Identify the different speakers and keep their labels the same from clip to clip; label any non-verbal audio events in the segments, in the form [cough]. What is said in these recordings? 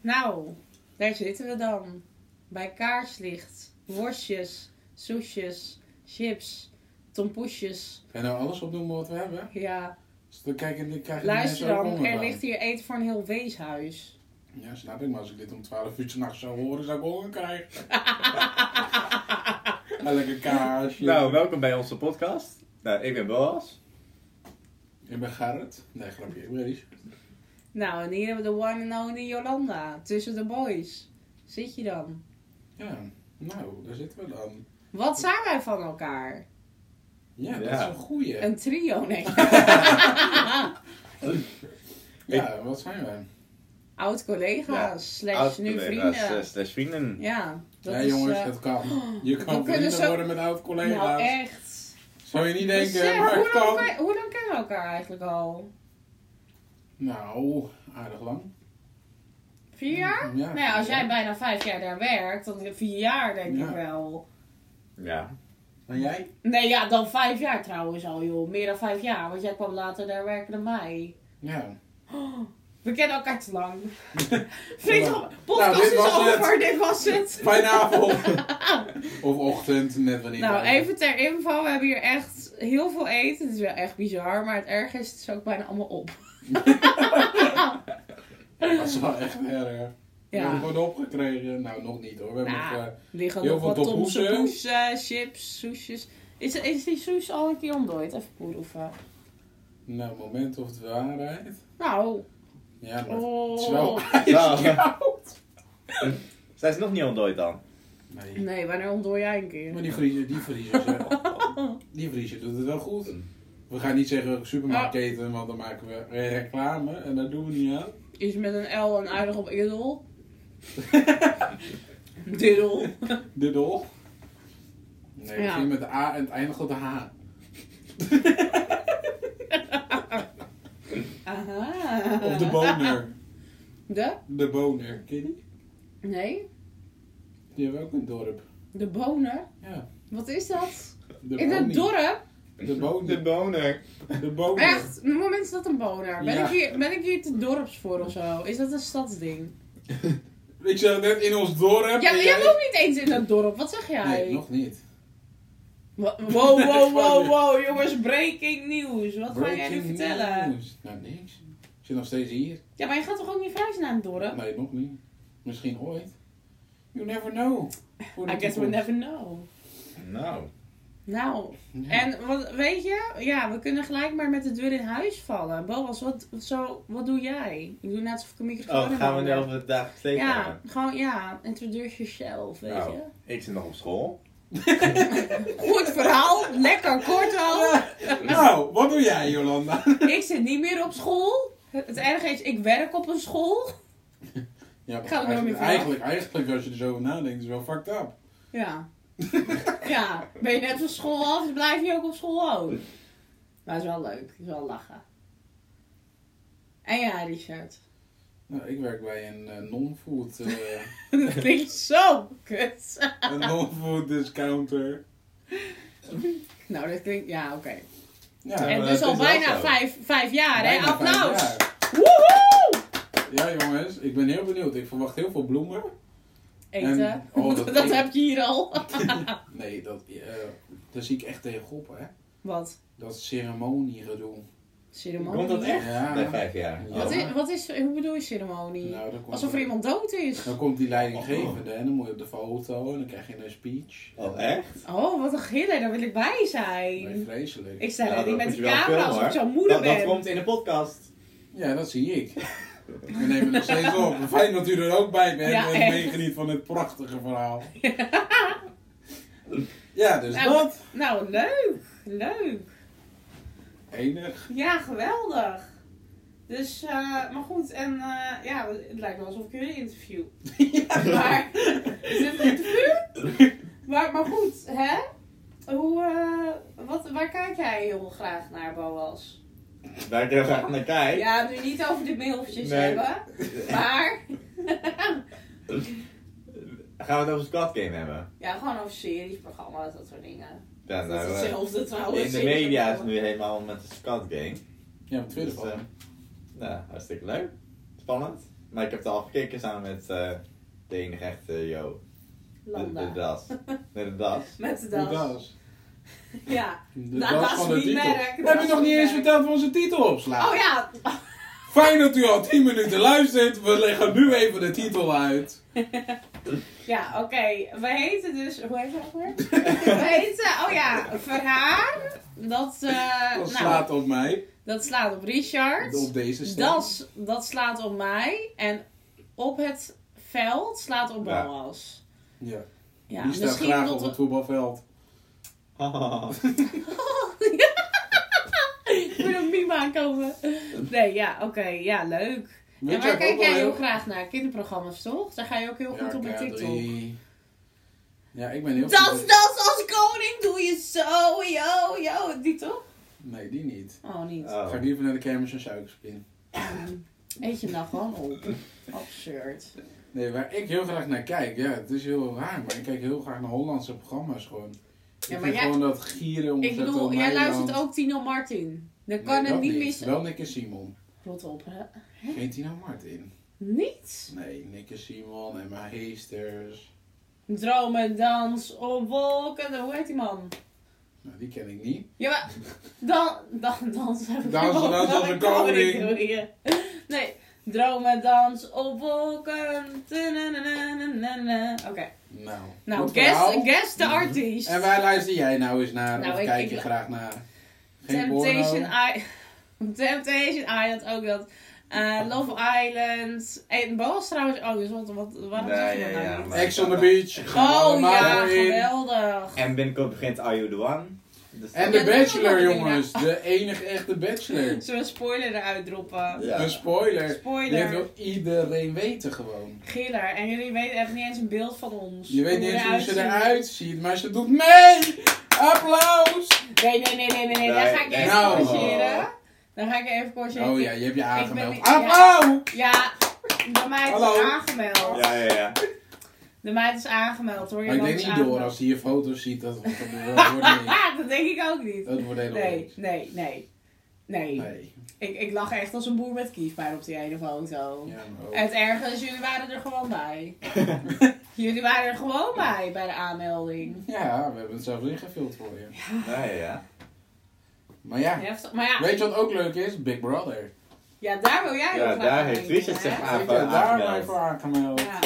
Speaker 1: Nou, daar zitten we dan. Bij kaarslicht, worstjes, soesjes, chips, tompoesjes.
Speaker 2: Ga je nou alles opnoemen wat we hebben?
Speaker 1: Ja,
Speaker 2: Dus dan kijken, dan krijgen de
Speaker 1: luister
Speaker 2: mensen ook
Speaker 1: dan,
Speaker 2: honger
Speaker 1: er
Speaker 2: van.
Speaker 1: ligt hier eten voor een heel weeshuis.
Speaker 2: Ja, snap ik. Maar als ik dit om 12 uur s'nachts zou horen, zou ik honger
Speaker 1: [laughs]
Speaker 2: krijgen. en lekker kaarsje.
Speaker 3: Nou, welkom bij onze podcast. Nou, ik ben Boas.
Speaker 2: Ik ben Gerrit. Nee, grapje. Ik ben Ries.
Speaker 1: Nou, en hier hebben we de one and only Jolanda, tussen de boys. Zit je dan?
Speaker 2: Ja, nou, daar zitten we dan.
Speaker 1: Wat zijn wij van elkaar?
Speaker 2: Ja, dat
Speaker 3: Ja.
Speaker 2: is een goeie.
Speaker 1: Een trio, nee.
Speaker 2: Ja, wat zijn wij?
Speaker 1: Oud-collega's,
Speaker 3: Ja,
Speaker 1: slash nu
Speaker 3: Oud-collega's,
Speaker 1: vrienden.
Speaker 3: eh, Slash vrienden.
Speaker 1: Ja, dat
Speaker 2: Ja,
Speaker 1: is...
Speaker 2: jongens,
Speaker 1: eh,
Speaker 2: het
Speaker 1: [gasps]
Speaker 2: kan. Je kan
Speaker 1: kunnen
Speaker 2: vrienden
Speaker 1: zo-
Speaker 2: worden met oud-collega's.
Speaker 1: nou, echt.
Speaker 2: zou je niet
Speaker 1: Dus,
Speaker 2: denken,
Speaker 1: eh,
Speaker 2: maar
Speaker 1: hoe,
Speaker 2: het
Speaker 1: lang,
Speaker 2: kan.
Speaker 1: ken- hoe lang kennen we elkaar eigenlijk al?
Speaker 2: Nou, aardig lang.
Speaker 1: Vier jaar?
Speaker 2: Ja,
Speaker 1: Nou ja, als
Speaker 2: ja.
Speaker 1: jij bijna vijf jaar daar werkt, dan vier jaar denk
Speaker 2: Ja.
Speaker 1: ik wel.
Speaker 3: Ja.
Speaker 2: En jij?
Speaker 1: Nee, ja, dan vijf jaar trouwens al, joh. Meer dan vijf jaar, want jij kwam later daar werken dan mij. Oh,
Speaker 2: Ja. [laughs]
Speaker 1: We kennen elkaar te lang. Vriendschap,
Speaker 2: Nou,
Speaker 1: podcast
Speaker 2: dit
Speaker 1: is
Speaker 2: was
Speaker 1: over, dit was
Speaker 2: [laughs]
Speaker 1: het.
Speaker 2: Fijne avond. of ochtend, net
Speaker 1: [laughs]
Speaker 2: wanneer.
Speaker 1: Nou,
Speaker 2: je-
Speaker 1: even ter info, we hebben hier echt heel veel eten. Het is wel echt bizar, maar het erg is, het is ook bijna allemaal op.
Speaker 2: Dat is wel echt erg. We hebben
Speaker 1: Ja,
Speaker 2: het gewoon opgekregen. Nou, nog niet hoor. We hebben
Speaker 1: Nou,
Speaker 2: nog, eh,
Speaker 1: er liggen
Speaker 2: heel
Speaker 1: nog
Speaker 2: veel
Speaker 1: wat
Speaker 2: tompoesen.
Speaker 1: tompoesen, chips, soesjes. Is, is die soes al een keer ontdooid? Even proeven.
Speaker 2: nou, moment of de waarheid.
Speaker 1: Nou,
Speaker 2: Ja, maar het is wel
Speaker 1: oh.
Speaker 2: ijskoud.
Speaker 3: Zij is nog niet ontdooid dan.
Speaker 2: Nee.
Speaker 1: Nee, wanneer ontdooi jij een keer?
Speaker 2: Maar die vriezer, die vriezer, ze- die vriezer doet het wel goed. We gaan niet zeggen supermarktketen, want dan maken we reclame en dat doen we niet aan. [laughs]
Speaker 1: Is met een L en aardig op Idol.
Speaker 2: [laughs]
Speaker 1: Diddel.
Speaker 2: De dol. Nee, we
Speaker 1: Ja.
Speaker 2: beginnen met de A en het eindigt op de H.
Speaker 1: [laughs] Aha.
Speaker 2: Of de boner.
Speaker 1: De?
Speaker 2: De boner, ken je die?
Speaker 1: Nee.
Speaker 2: Die hebben we ook in het dorp.
Speaker 1: De bonen?
Speaker 2: Ja.
Speaker 1: Wat is dat?
Speaker 2: De
Speaker 1: In het
Speaker 2: bonie.
Speaker 1: dorp?
Speaker 2: De boner.
Speaker 3: boner.
Speaker 2: De boner.
Speaker 1: Echt? Noem is dat een boner. Ben,
Speaker 2: Ja.
Speaker 1: ik hier, ben ik hier te dorps voor of zo? Is dat een stadsding?
Speaker 2: Ik zei net in ons dorp.
Speaker 1: Ja,
Speaker 2: en
Speaker 1: maar
Speaker 2: jij-
Speaker 1: jij woont niet eens in het dorp. Wat zeg jij?
Speaker 2: Nee, nog niet.
Speaker 1: Wa-
Speaker 2: [laughs]
Speaker 1: Wow, wow, wow, wow, jongens, breaking news. Wat ga jij nu
Speaker 2: Breaking
Speaker 1: vertellen?
Speaker 2: news. Nou, niks. Ik zit nog steeds hier.
Speaker 1: Ja, maar je gaat toch ook niet verhuizen naar een dorp?
Speaker 2: Nee, nog niet. Misschien ooit. You never know. Voor de
Speaker 1: I guess we
Speaker 2: toekomst.
Speaker 1: never know.
Speaker 3: Nou.
Speaker 1: Nou,
Speaker 2: Ja.
Speaker 1: en wat, weet je, ja, we kunnen gelijk maar met de deur in huis vallen. Boas, wat, wat, zo, wat doe jij? Ik doe net alsof ik een microfoon
Speaker 3: Oh,
Speaker 1: in
Speaker 3: gaan we
Speaker 1: handen
Speaker 3: nu
Speaker 1: heb.
Speaker 3: over het dagelijks leven
Speaker 1: Ja,
Speaker 3: hebben?
Speaker 1: gewoon, ja, introduce yourself, weet
Speaker 3: Nou,
Speaker 1: je.
Speaker 3: ik zit nog op school.
Speaker 1: Goed verhaal, lekker kort al.
Speaker 2: [laughs] Nou, wat doe
Speaker 1: [laughs]
Speaker 2: jij, Jolanda?
Speaker 1: Ik zit niet meer op school. Het erge is, ik werk op een school.
Speaker 2: Ja, maar
Speaker 1: Ga er nooit meer
Speaker 2: eigenlijk,
Speaker 1: vanaf.
Speaker 2: eigenlijk, eigenlijk, als je er zo over nadenkt, is het wel fucked up. [laughs]
Speaker 1: Ja. ja, ben je net van school af, dan blijf je ook op school houden. Maar het is wel leuk, het is wel lachen. En ja, Richard. [laughs]
Speaker 2: Nou, ik werk bij een eh, non-food
Speaker 1: [laughs]
Speaker 2: eh,
Speaker 1: Dat klinkt zo kut.
Speaker 2: een non-food discounter.
Speaker 1: Nou, dat klinkt, ja, oké.
Speaker 2: Ja,
Speaker 1: En
Speaker 3: maar
Speaker 1: dus
Speaker 3: het
Speaker 1: al
Speaker 3: is wel
Speaker 1: bijna
Speaker 3: zo.
Speaker 1: vijf, vijf jaar,
Speaker 2: bijna
Speaker 1: hè?
Speaker 2: vijf
Speaker 1: Applaus!
Speaker 2: jaar.
Speaker 1: Woehoe!
Speaker 2: Ja, jongens, ik ben heel benieuwd. Ik verwacht heel veel bloemen.
Speaker 1: Eten.
Speaker 2: En- oh, dat
Speaker 1: [laughs] dat
Speaker 2: klinkt-
Speaker 1: heb je hier al.
Speaker 2: Nee, dat, eh, daar zie ik echt tegenop, hè.
Speaker 1: Wat?
Speaker 2: Dat ceremoniegedoe.
Speaker 1: Ceremonie?
Speaker 3: Komt dat echt?
Speaker 2: Ja.
Speaker 3: Na vijf jaar.
Speaker 2: Ja.
Speaker 1: Wat is, wat is, hoe bedoel je ceremonie?
Speaker 2: Nou, dan komt
Speaker 1: Alsof er iemand dood is.
Speaker 2: Dan komt die leidinggevende en dan moet je op de foto en dan krijg je een speech.
Speaker 3: Oh, echt?
Speaker 1: Oh, wat een giller, daar wil ik bij
Speaker 2: Nee,
Speaker 1: zijn.
Speaker 2: vreselijk.
Speaker 1: Ik sta
Speaker 3: Nou,
Speaker 1: daar niet met
Speaker 3: dat moet
Speaker 1: die
Speaker 3: je wel
Speaker 1: camera
Speaker 3: filmen,
Speaker 1: alsof ik
Speaker 3: hoor.
Speaker 1: zo'n moeder
Speaker 3: Dat,
Speaker 1: ben.
Speaker 3: dat komt in de podcast.
Speaker 2: Ja, dat zie
Speaker 1: [laughs]
Speaker 2: ik. We nemen nog steeds op. Fijn dat u er ook bij bent
Speaker 1: Ja,
Speaker 2: en
Speaker 1: echt.
Speaker 2: meegeniet van het prachtige
Speaker 1: [laughs]
Speaker 2: verhaal. Ja, dus
Speaker 1: Nou,
Speaker 2: dat.
Speaker 1: Nou, leuk. Leuk. [laughs]
Speaker 2: Enig.
Speaker 1: Ja, geweldig. Dus, eh, maar goed, en eh, ja, het lijkt wel alsof ik jullie interview. Maar,
Speaker 2: [laughs]
Speaker 1: is dit een interview? Maar, maar goed, hè? Hoe, eh, wat, waar kijk jij heel graag naar, Boas?
Speaker 3: Waar ik heel graag naar kijk.
Speaker 1: Ja, nu niet over de mailtjes
Speaker 3: Nee.
Speaker 1: hebben, maar...
Speaker 3: [laughs]
Speaker 1: [laughs]
Speaker 3: Gaan we het over Squad Game hebben?
Speaker 1: ja, gewoon over series, programma's, dat soort dingen.
Speaker 3: Ja,
Speaker 1: Dat is
Speaker 3: eh,
Speaker 1: hetzelfde trouwens.
Speaker 3: in de media is het nu helemaal met de Squad Game.
Speaker 2: Ja, op Twitter
Speaker 3: Dus, eh,
Speaker 2: van.
Speaker 3: nou, hartstikke leuk. Spannend. Maar ik heb het al gekeken samen met eh, de enige echte Jo. De, de
Speaker 1: Landa. [laughs]
Speaker 3: das. Met de das.
Speaker 1: Met de
Speaker 2: De
Speaker 1: das.
Speaker 2: das.
Speaker 1: Ja.
Speaker 2: De
Speaker 1: Nou,
Speaker 2: das
Speaker 1: dat is
Speaker 2: van de
Speaker 1: niet
Speaker 2: titel.
Speaker 1: merk,
Speaker 2: We
Speaker 1: dat
Speaker 2: hebben
Speaker 1: is
Speaker 2: nog niet
Speaker 1: niet
Speaker 2: eens
Speaker 1: merk.
Speaker 2: verteld waar onze titel op slaat.
Speaker 1: Oh ja.
Speaker 2: Fijn dat u al 10 minuten luistert. We leggen nu even de titel uit.
Speaker 1: Ja, oké. We heten dus... Hoe heet dat ook
Speaker 3: [laughs]
Speaker 1: weer? We heten... Oh ja. Verhaar. Dat, eh,
Speaker 2: Dat
Speaker 1: nou,
Speaker 2: slaat op mij.
Speaker 1: dat slaat op Richard.
Speaker 2: Op deze stem.
Speaker 1: Das, dat slaat op mij. En op het veld slaat op
Speaker 3: Ja.
Speaker 1: Boas.
Speaker 2: Ja.
Speaker 1: Ja,
Speaker 2: Die staat
Speaker 1: misschien
Speaker 2: graag
Speaker 1: dat
Speaker 2: op
Speaker 1: we-
Speaker 2: het voetbalveld.
Speaker 1: [laughs] Oh. Ik wil een meme aankomen. Nee, ja, oké. ja, leuk. En
Speaker 2: Weet
Speaker 1: waar
Speaker 2: jij
Speaker 1: kijk
Speaker 2: ook wel
Speaker 1: jij heel graag naar? Kinderprogramma's, toch? Daar ga je ook heel goed op met
Speaker 2: Ja,
Speaker 1: TikTok.
Speaker 2: K3. Ja, ik ben heel
Speaker 1: Das,
Speaker 2: goed-
Speaker 1: das als koning doe je zo, yo, yo. Die toch?
Speaker 2: Nee, die niet.
Speaker 1: Oh, niet.
Speaker 2: Ga
Speaker 3: Oh.
Speaker 2: ik liever naar de kermis en suikerspin.
Speaker 1: Eet je hem nou gewoon op. Absurd.
Speaker 2: Nee, waar ik heel graag naar kijk. Ja, het is heel raar. Maar ik kijk heel graag naar Hollandse programma's gewoon.
Speaker 1: Ja,
Speaker 2: ik
Speaker 1: maar
Speaker 2: vind
Speaker 1: jij-
Speaker 2: gewoon dat gieren om
Speaker 1: Ik bedoel, jij luistert ook Tino Martin. Dan kan het niet missen.
Speaker 2: Wel Nick en Simon.
Speaker 1: Rot op, hè?
Speaker 2: Geen Tina nou Martin.
Speaker 1: Niet?
Speaker 2: Nee, Nick en Simon, Emma Heesters.
Speaker 1: Dromen, dans, op wolken. Hoe heet die man?
Speaker 2: Nou, die ken ik niet.
Speaker 1: Ja, maar dan, dan, [laughs] dansen heb ik
Speaker 2: Dansen,
Speaker 1: gewoon-
Speaker 2: dansen als een koning.
Speaker 1: doe je. [laughs] Nee, dromen, dans op wolken. Ta-na-na-na-na-na. Oké,
Speaker 2: Nou,
Speaker 1: nou,
Speaker 2: goed
Speaker 1: guess,
Speaker 2: verhaal.
Speaker 1: guess the artiest.
Speaker 2: En waar luister jij nou eens naar?
Speaker 1: Nou,
Speaker 2: of
Speaker 1: ik-
Speaker 2: kijk
Speaker 1: ik-
Speaker 2: je graag naar? Geen
Speaker 1: Temptation
Speaker 2: porno?
Speaker 1: Island. Temptation Island ook dat. Eh, Love Island. En Boas trouwens ook, dus wat, wat, waarom
Speaker 3: Nee,
Speaker 1: zeg je dat
Speaker 3: ja,
Speaker 1: nou
Speaker 3: ja,
Speaker 1: niet?
Speaker 3: maar-
Speaker 2: Ex on the Beach. Gaan we
Speaker 1: Oh
Speaker 2: allemaal
Speaker 1: ja,
Speaker 2: in.
Speaker 1: geweldig.
Speaker 3: en binnenkort begint Are You The One. Dus
Speaker 2: En
Speaker 3: dat-
Speaker 2: de
Speaker 1: Ja, dat is ook
Speaker 2: Bachelor,
Speaker 1: wel
Speaker 2: jongens. De enige echte Bachelor.
Speaker 1: Zullen we een spoiler eruit droppen?
Speaker 3: Ja.
Speaker 2: Een spoiler. Dit
Speaker 1: Spoiler.
Speaker 2: wil iedereen weten gewoon.
Speaker 1: Giller. En jullie weten echt niet eens een beeld van ons.
Speaker 2: Je weet niet
Speaker 1: we
Speaker 2: eens hoe ze
Speaker 1: zien.
Speaker 2: eruit ziet, maar ze doet mee! Applaus!
Speaker 1: Nee, nee, nee, nee, nee, nee. Dan
Speaker 3: Nee,
Speaker 1: ga ik je
Speaker 3: nee.
Speaker 1: even
Speaker 2: Nou.
Speaker 1: corrigeren. Dan ga ik je even corrigeren.
Speaker 2: Oh ja, je hebt je aangemeld.
Speaker 1: niet-
Speaker 2: Applaus!
Speaker 1: Ja, de meid is
Speaker 2: Hallo.
Speaker 1: aangemeld.
Speaker 3: Ja, ja, ja. [laughs]
Speaker 1: De meid is aangemeld hoor. Je
Speaker 2: Maar ik
Speaker 1: man
Speaker 2: denk
Speaker 1: is
Speaker 2: niet door
Speaker 1: aangemeld.
Speaker 2: als hij je foto's ziet, dat wordt dat
Speaker 1: [laughs]
Speaker 2: wordt niet.
Speaker 1: Ah, dat denk ik ook niet.
Speaker 2: Dat wordt helemaal
Speaker 1: Nee,
Speaker 2: niks.
Speaker 1: nee, nee. Nee.
Speaker 2: Nee.
Speaker 1: Ik, ik lag echt als een boer met kiespijn op die ene foto.
Speaker 2: Ja, maar ook.
Speaker 1: En het erge is, jullie waren er gewoon bij. jullie waren er gewoon bij, bij de aanmelding.
Speaker 2: [laughs] Ja, we hebben het zelf ingevuld voor je.
Speaker 3: Ja, ja, ja.
Speaker 2: Maar ja,
Speaker 1: Heftig. Maar ja,
Speaker 2: weet je wat ook leuk is? Big Brother.
Speaker 1: ja, daar wil jij
Speaker 3: Ja,
Speaker 1: heel graag
Speaker 3: daar
Speaker 1: aan
Speaker 3: heeft
Speaker 1: denken, hè?
Speaker 3: Richard zich aan-
Speaker 2: Ik heb
Speaker 3: Aangemeld.
Speaker 2: daar mij voor aangemeld.
Speaker 1: Ja.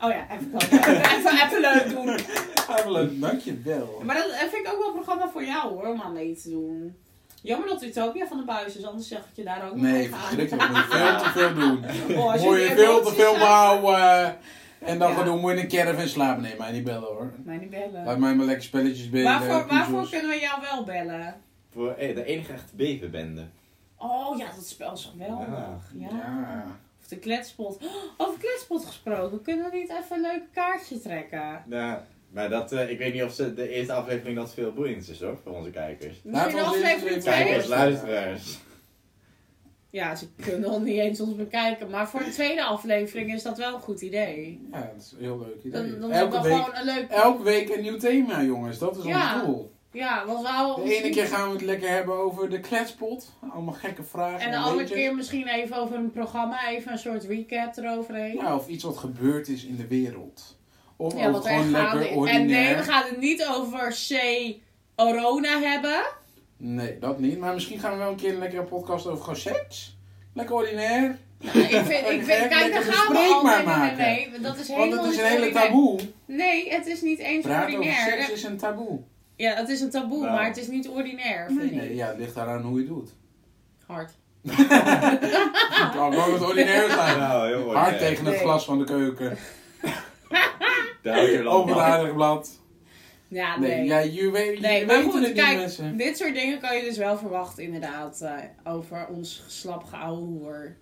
Speaker 1: Oh ja, even komen. even, even leuk doen.
Speaker 2: [laughs] Ah, leuk, dankjewel.
Speaker 1: Maar dat vind ik ook wel een programma voor jou hoor, om aan mee te doen. Jammer dat Utopia van de buis is, anders zeg ik je daar ook nog
Speaker 2: Nee,
Speaker 1: aan.
Speaker 2: verschrikkelijk. Moet je veel te veel doen.
Speaker 1: [laughs] Oh, als
Speaker 2: Moet je
Speaker 1: jullie
Speaker 2: veel te
Speaker 1: emoties
Speaker 2: veel
Speaker 1: zijn-
Speaker 2: bouwen. En dan
Speaker 1: Ja.
Speaker 2: gaan doen, moet je in een caravan slapen. Nee, mij niet bellen hoor.
Speaker 1: Mij niet bellen.
Speaker 2: Laat mij maar lekker spelletjes eh, spelen.
Speaker 1: waarvoor, waarvoor
Speaker 2: puzzels.
Speaker 1: kunnen we jou wel bellen?
Speaker 3: Voor eh, de enige echte beverbende.
Speaker 1: Oh ja, dat spel is geweldig. Ja.
Speaker 2: Ja.
Speaker 1: Of de kletspot. Oh, over kletspot gesproken, kunnen we niet even een leuk kaartje trekken?
Speaker 3: Ja, maar dat, eh, ik weet niet of ze de eerste aflevering dat veel boeiend is hoor, voor onze kijkers.
Speaker 1: Misschien
Speaker 2: ons eerst
Speaker 1: aflevering
Speaker 2: even- Kijk
Speaker 1: twee?
Speaker 2: eens.
Speaker 3: Kijkers, luisteraars.
Speaker 1: Ja, ze kunnen nog niet eens ons bekijken. Maar voor de tweede aflevering is dat wel een goed idee.
Speaker 2: Ja, dat is een heel leuk idee.
Speaker 1: Dan, dan
Speaker 2: elke,
Speaker 1: hebben we
Speaker 2: week,
Speaker 1: gewoon een leuk...
Speaker 2: elke week een nieuw thema, jongens. Dat is
Speaker 1: Ja.
Speaker 2: ons doel.
Speaker 1: Ja, want we houden ons
Speaker 2: De ene
Speaker 1: niet-
Speaker 2: keer gaan we het lekker hebben over de kletspot. Allemaal gekke vragen.
Speaker 1: En de
Speaker 2: een
Speaker 1: andere
Speaker 2: beetje.
Speaker 1: keer misschien even over een programma. Even een soort recap eroverheen.
Speaker 2: Ja, of iets wat gebeurd is in de wereld. Of
Speaker 1: Ja,
Speaker 2: ook
Speaker 1: want wij
Speaker 2: gewoon
Speaker 1: gaan...
Speaker 2: lekker ordinair.
Speaker 1: En nee, we gaan het niet over C. Corona hebben.
Speaker 2: [laughs] Nee, dat niet. Maar misschien gaan we wel een keer een lekkere podcast over gewoon seks. Lekker ordinair.
Speaker 1: Nou, Ik vind, ik vind, kijk, daar
Speaker 2: Lekker
Speaker 1: gaan we
Speaker 2: bespreekbaar
Speaker 1: altijd maar
Speaker 2: maken.
Speaker 1: mee. Dat is
Speaker 2: Want
Speaker 1: helemaal
Speaker 2: het is
Speaker 1: niet
Speaker 2: een hele
Speaker 1: ordinair.
Speaker 2: taboe.
Speaker 1: Nee, het is niet eens
Speaker 2: Praten over
Speaker 1: ordinair.
Speaker 2: seks is een taboe.
Speaker 1: Ja, het is een taboe,
Speaker 3: Nou.
Speaker 1: maar het is niet ordinair, vind
Speaker 2: Nee, nee,
Speaker 1: ik.
Speaker 2: ja, het ligt eraan hoe je het doet. [laughs]
Speaker 1: Hard.
Speaker 2: Het kan gewoon het ordinair zijn.
Speaker 3: Nou, heel mooi.
Speaker 2: Hard
Speaker 3: eh,
Speaker 2: tegen het
Speaker 1: Nee.
Speaker 2: glas van de keuken.
Speaker 3: [laughs] Daar hou ik je
Speaker 2: Over het
Speaker 3: van.
Speaker 2: aardig blad.
Speaker 1: Ja, nee.
Speaker 2: Nee, ja, je weet, je
Speaker 1: Nee, maar
Speaker 2: weet
Speaker 1: goed,
Speaker 2: het niet,
Speaker 1: kijk,
Speaker 2: mensen.
Speaker 1: dit soort dingen kan je dus wel verwachten inderdaad eh, over ons slap hoer.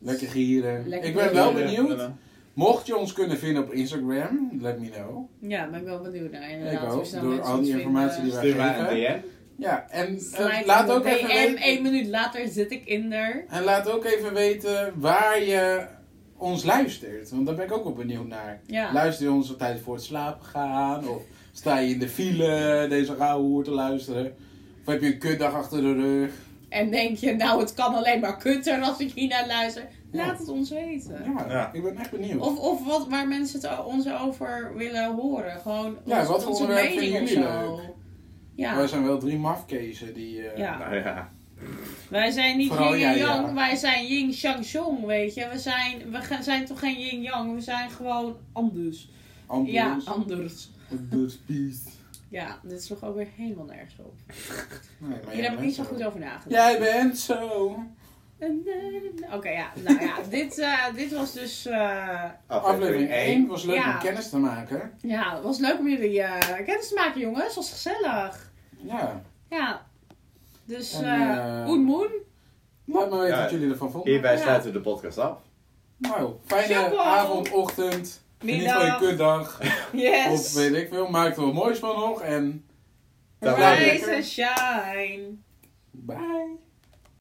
Speaker 2: Lekker gieren.
Speaker 1: Lekker
Speaker 2: ik ben wel
Speaker 1: gieren.
Speaker 2: benieuwd. Mocht je ons kunnen vinden op Instagram, let me know.
Speaker 1: Ja, ben ik wel benieuwd naar inderdaad.
Speaker 2: Ik ook,
Speaker 1: hoe snel
Speaker 2: door
Speaker 1: mensen
Speaker 2: al die
Speaker 1: ons
Speaker 2: informatie die
Speaker 1: vinden.
Speaker 2: wij
Speaker 3: Stuur mij een
Speaker 2: geven.
Speaker 3: DM.
Speaker 2: Ja, en eh,
Speaker 1: Slijt
Speaker 2: laat
Speaker 1: in
Speaker 2: ook
Speaker 1: de
Speaker 2: even
Speaker 1: DM, één
Speaker 2: weten,
Speaker 1: minuut later zit ik in er.
Speaker 2: en laat ook even weten waar je ons luistert. Want daar ben ik ook wel benieuwd naar.
Speaker 1: Ja.
Speaker 2: Luister je ons tijdens voor het slapen gaan? Of sta je in de file deze gouden hoer te luisteren? Of heb je een kutdag achter de rug?
Speaker 1: En denk je, nou het kan alleen maar kutter als ik hier naar luister. Laat het ons weten.
Speaker 2: Ja,
Speaker 3: Ja.
Speaker 2: ik ben echt benieuwd.
Speaker 1: Of, of wat, waar mensen het o- ons over willen horen. Gewoon
Speaker 2: Ja,
Speaker 1: ons-
Speaker 2: wat voor
Speaker 1: onze
Speaker 2: onderwerp
Speaker 1: mening of
Speaker 2: vinden jullie
Speaker 1: zo.
Speaker 2: leuk?
Speaker 1: Ja,
Speaker 2: Wij zijn wel drie mafkezen die... eh,
Speaker 1: Ja.
Speaker 3: Nou ja.
Speaker 1: wij zijn niet
Speaker 2: Vooral
Speaker 1: yin
Speaker 2: jij,
Speaker 1: en yang,
Speaker 2: ja.
Speaker 1: wij zijn yin shang song, weet je. We zijn, we ge- zijn toch geen yin yang, we zijn gewoon anders.
Speaker 2: Anders.
Speaker 1: Ja, anders.
Speaker 2: Anders beest.
Speaker 1: Ja, dit is toch ook weer helemaal nergens op.
Speaker 2: Nee, maar
Speaker 1: Hier
Speaker 2: jij
Speaker 1: heb ik
Speaker 2: bent
Speaker 1: niet zo goed over nagedacht.
Speaker 2: Jij bent zo.
Speaker 1: Oké, ja. Nou ja, [laughs] dit, eh, dit was dus... eh,
Speaker 2: Aflevering 1 was leuk
Speaker 1: Ja.
Speaker 2: om kennis te maken.
Speaker 1: ja, het was leuk om jullie eh, kennis te maken, jongens. Het was gezellig.
Speaker 2: Ja.
Speaker 1: Ja. Dus,
Speaker 2: En,
Speaker 1: eh
Speaker 2: eh,
Speaker 1: oen moen.
Speaker 2: Laat me weten
Speaker 3: Ja.
Speaker 2: wat jullie ervan vonden.
Speaker 3: Hierbij
Speaker 1: Ja.
Speaker 3: sluiten we de podcast af.
Speaker 2: Nou, fijne
Speaker 1: Chapeau.
Speaker 2: avond, ochtend. Geniet van je
Speaker 1: Middag.
Speaker 2: kutdag. Of
Speaker 1: Yes.
Speaker 2: weet ik veel. Maak er wat moois van nog. En
Speaker 3: Daar
Speaker 2: blijf
Speaker 1: Rise
Speaker 2: lekker.
Speaker 1: and shine.
Speaker 2: bye.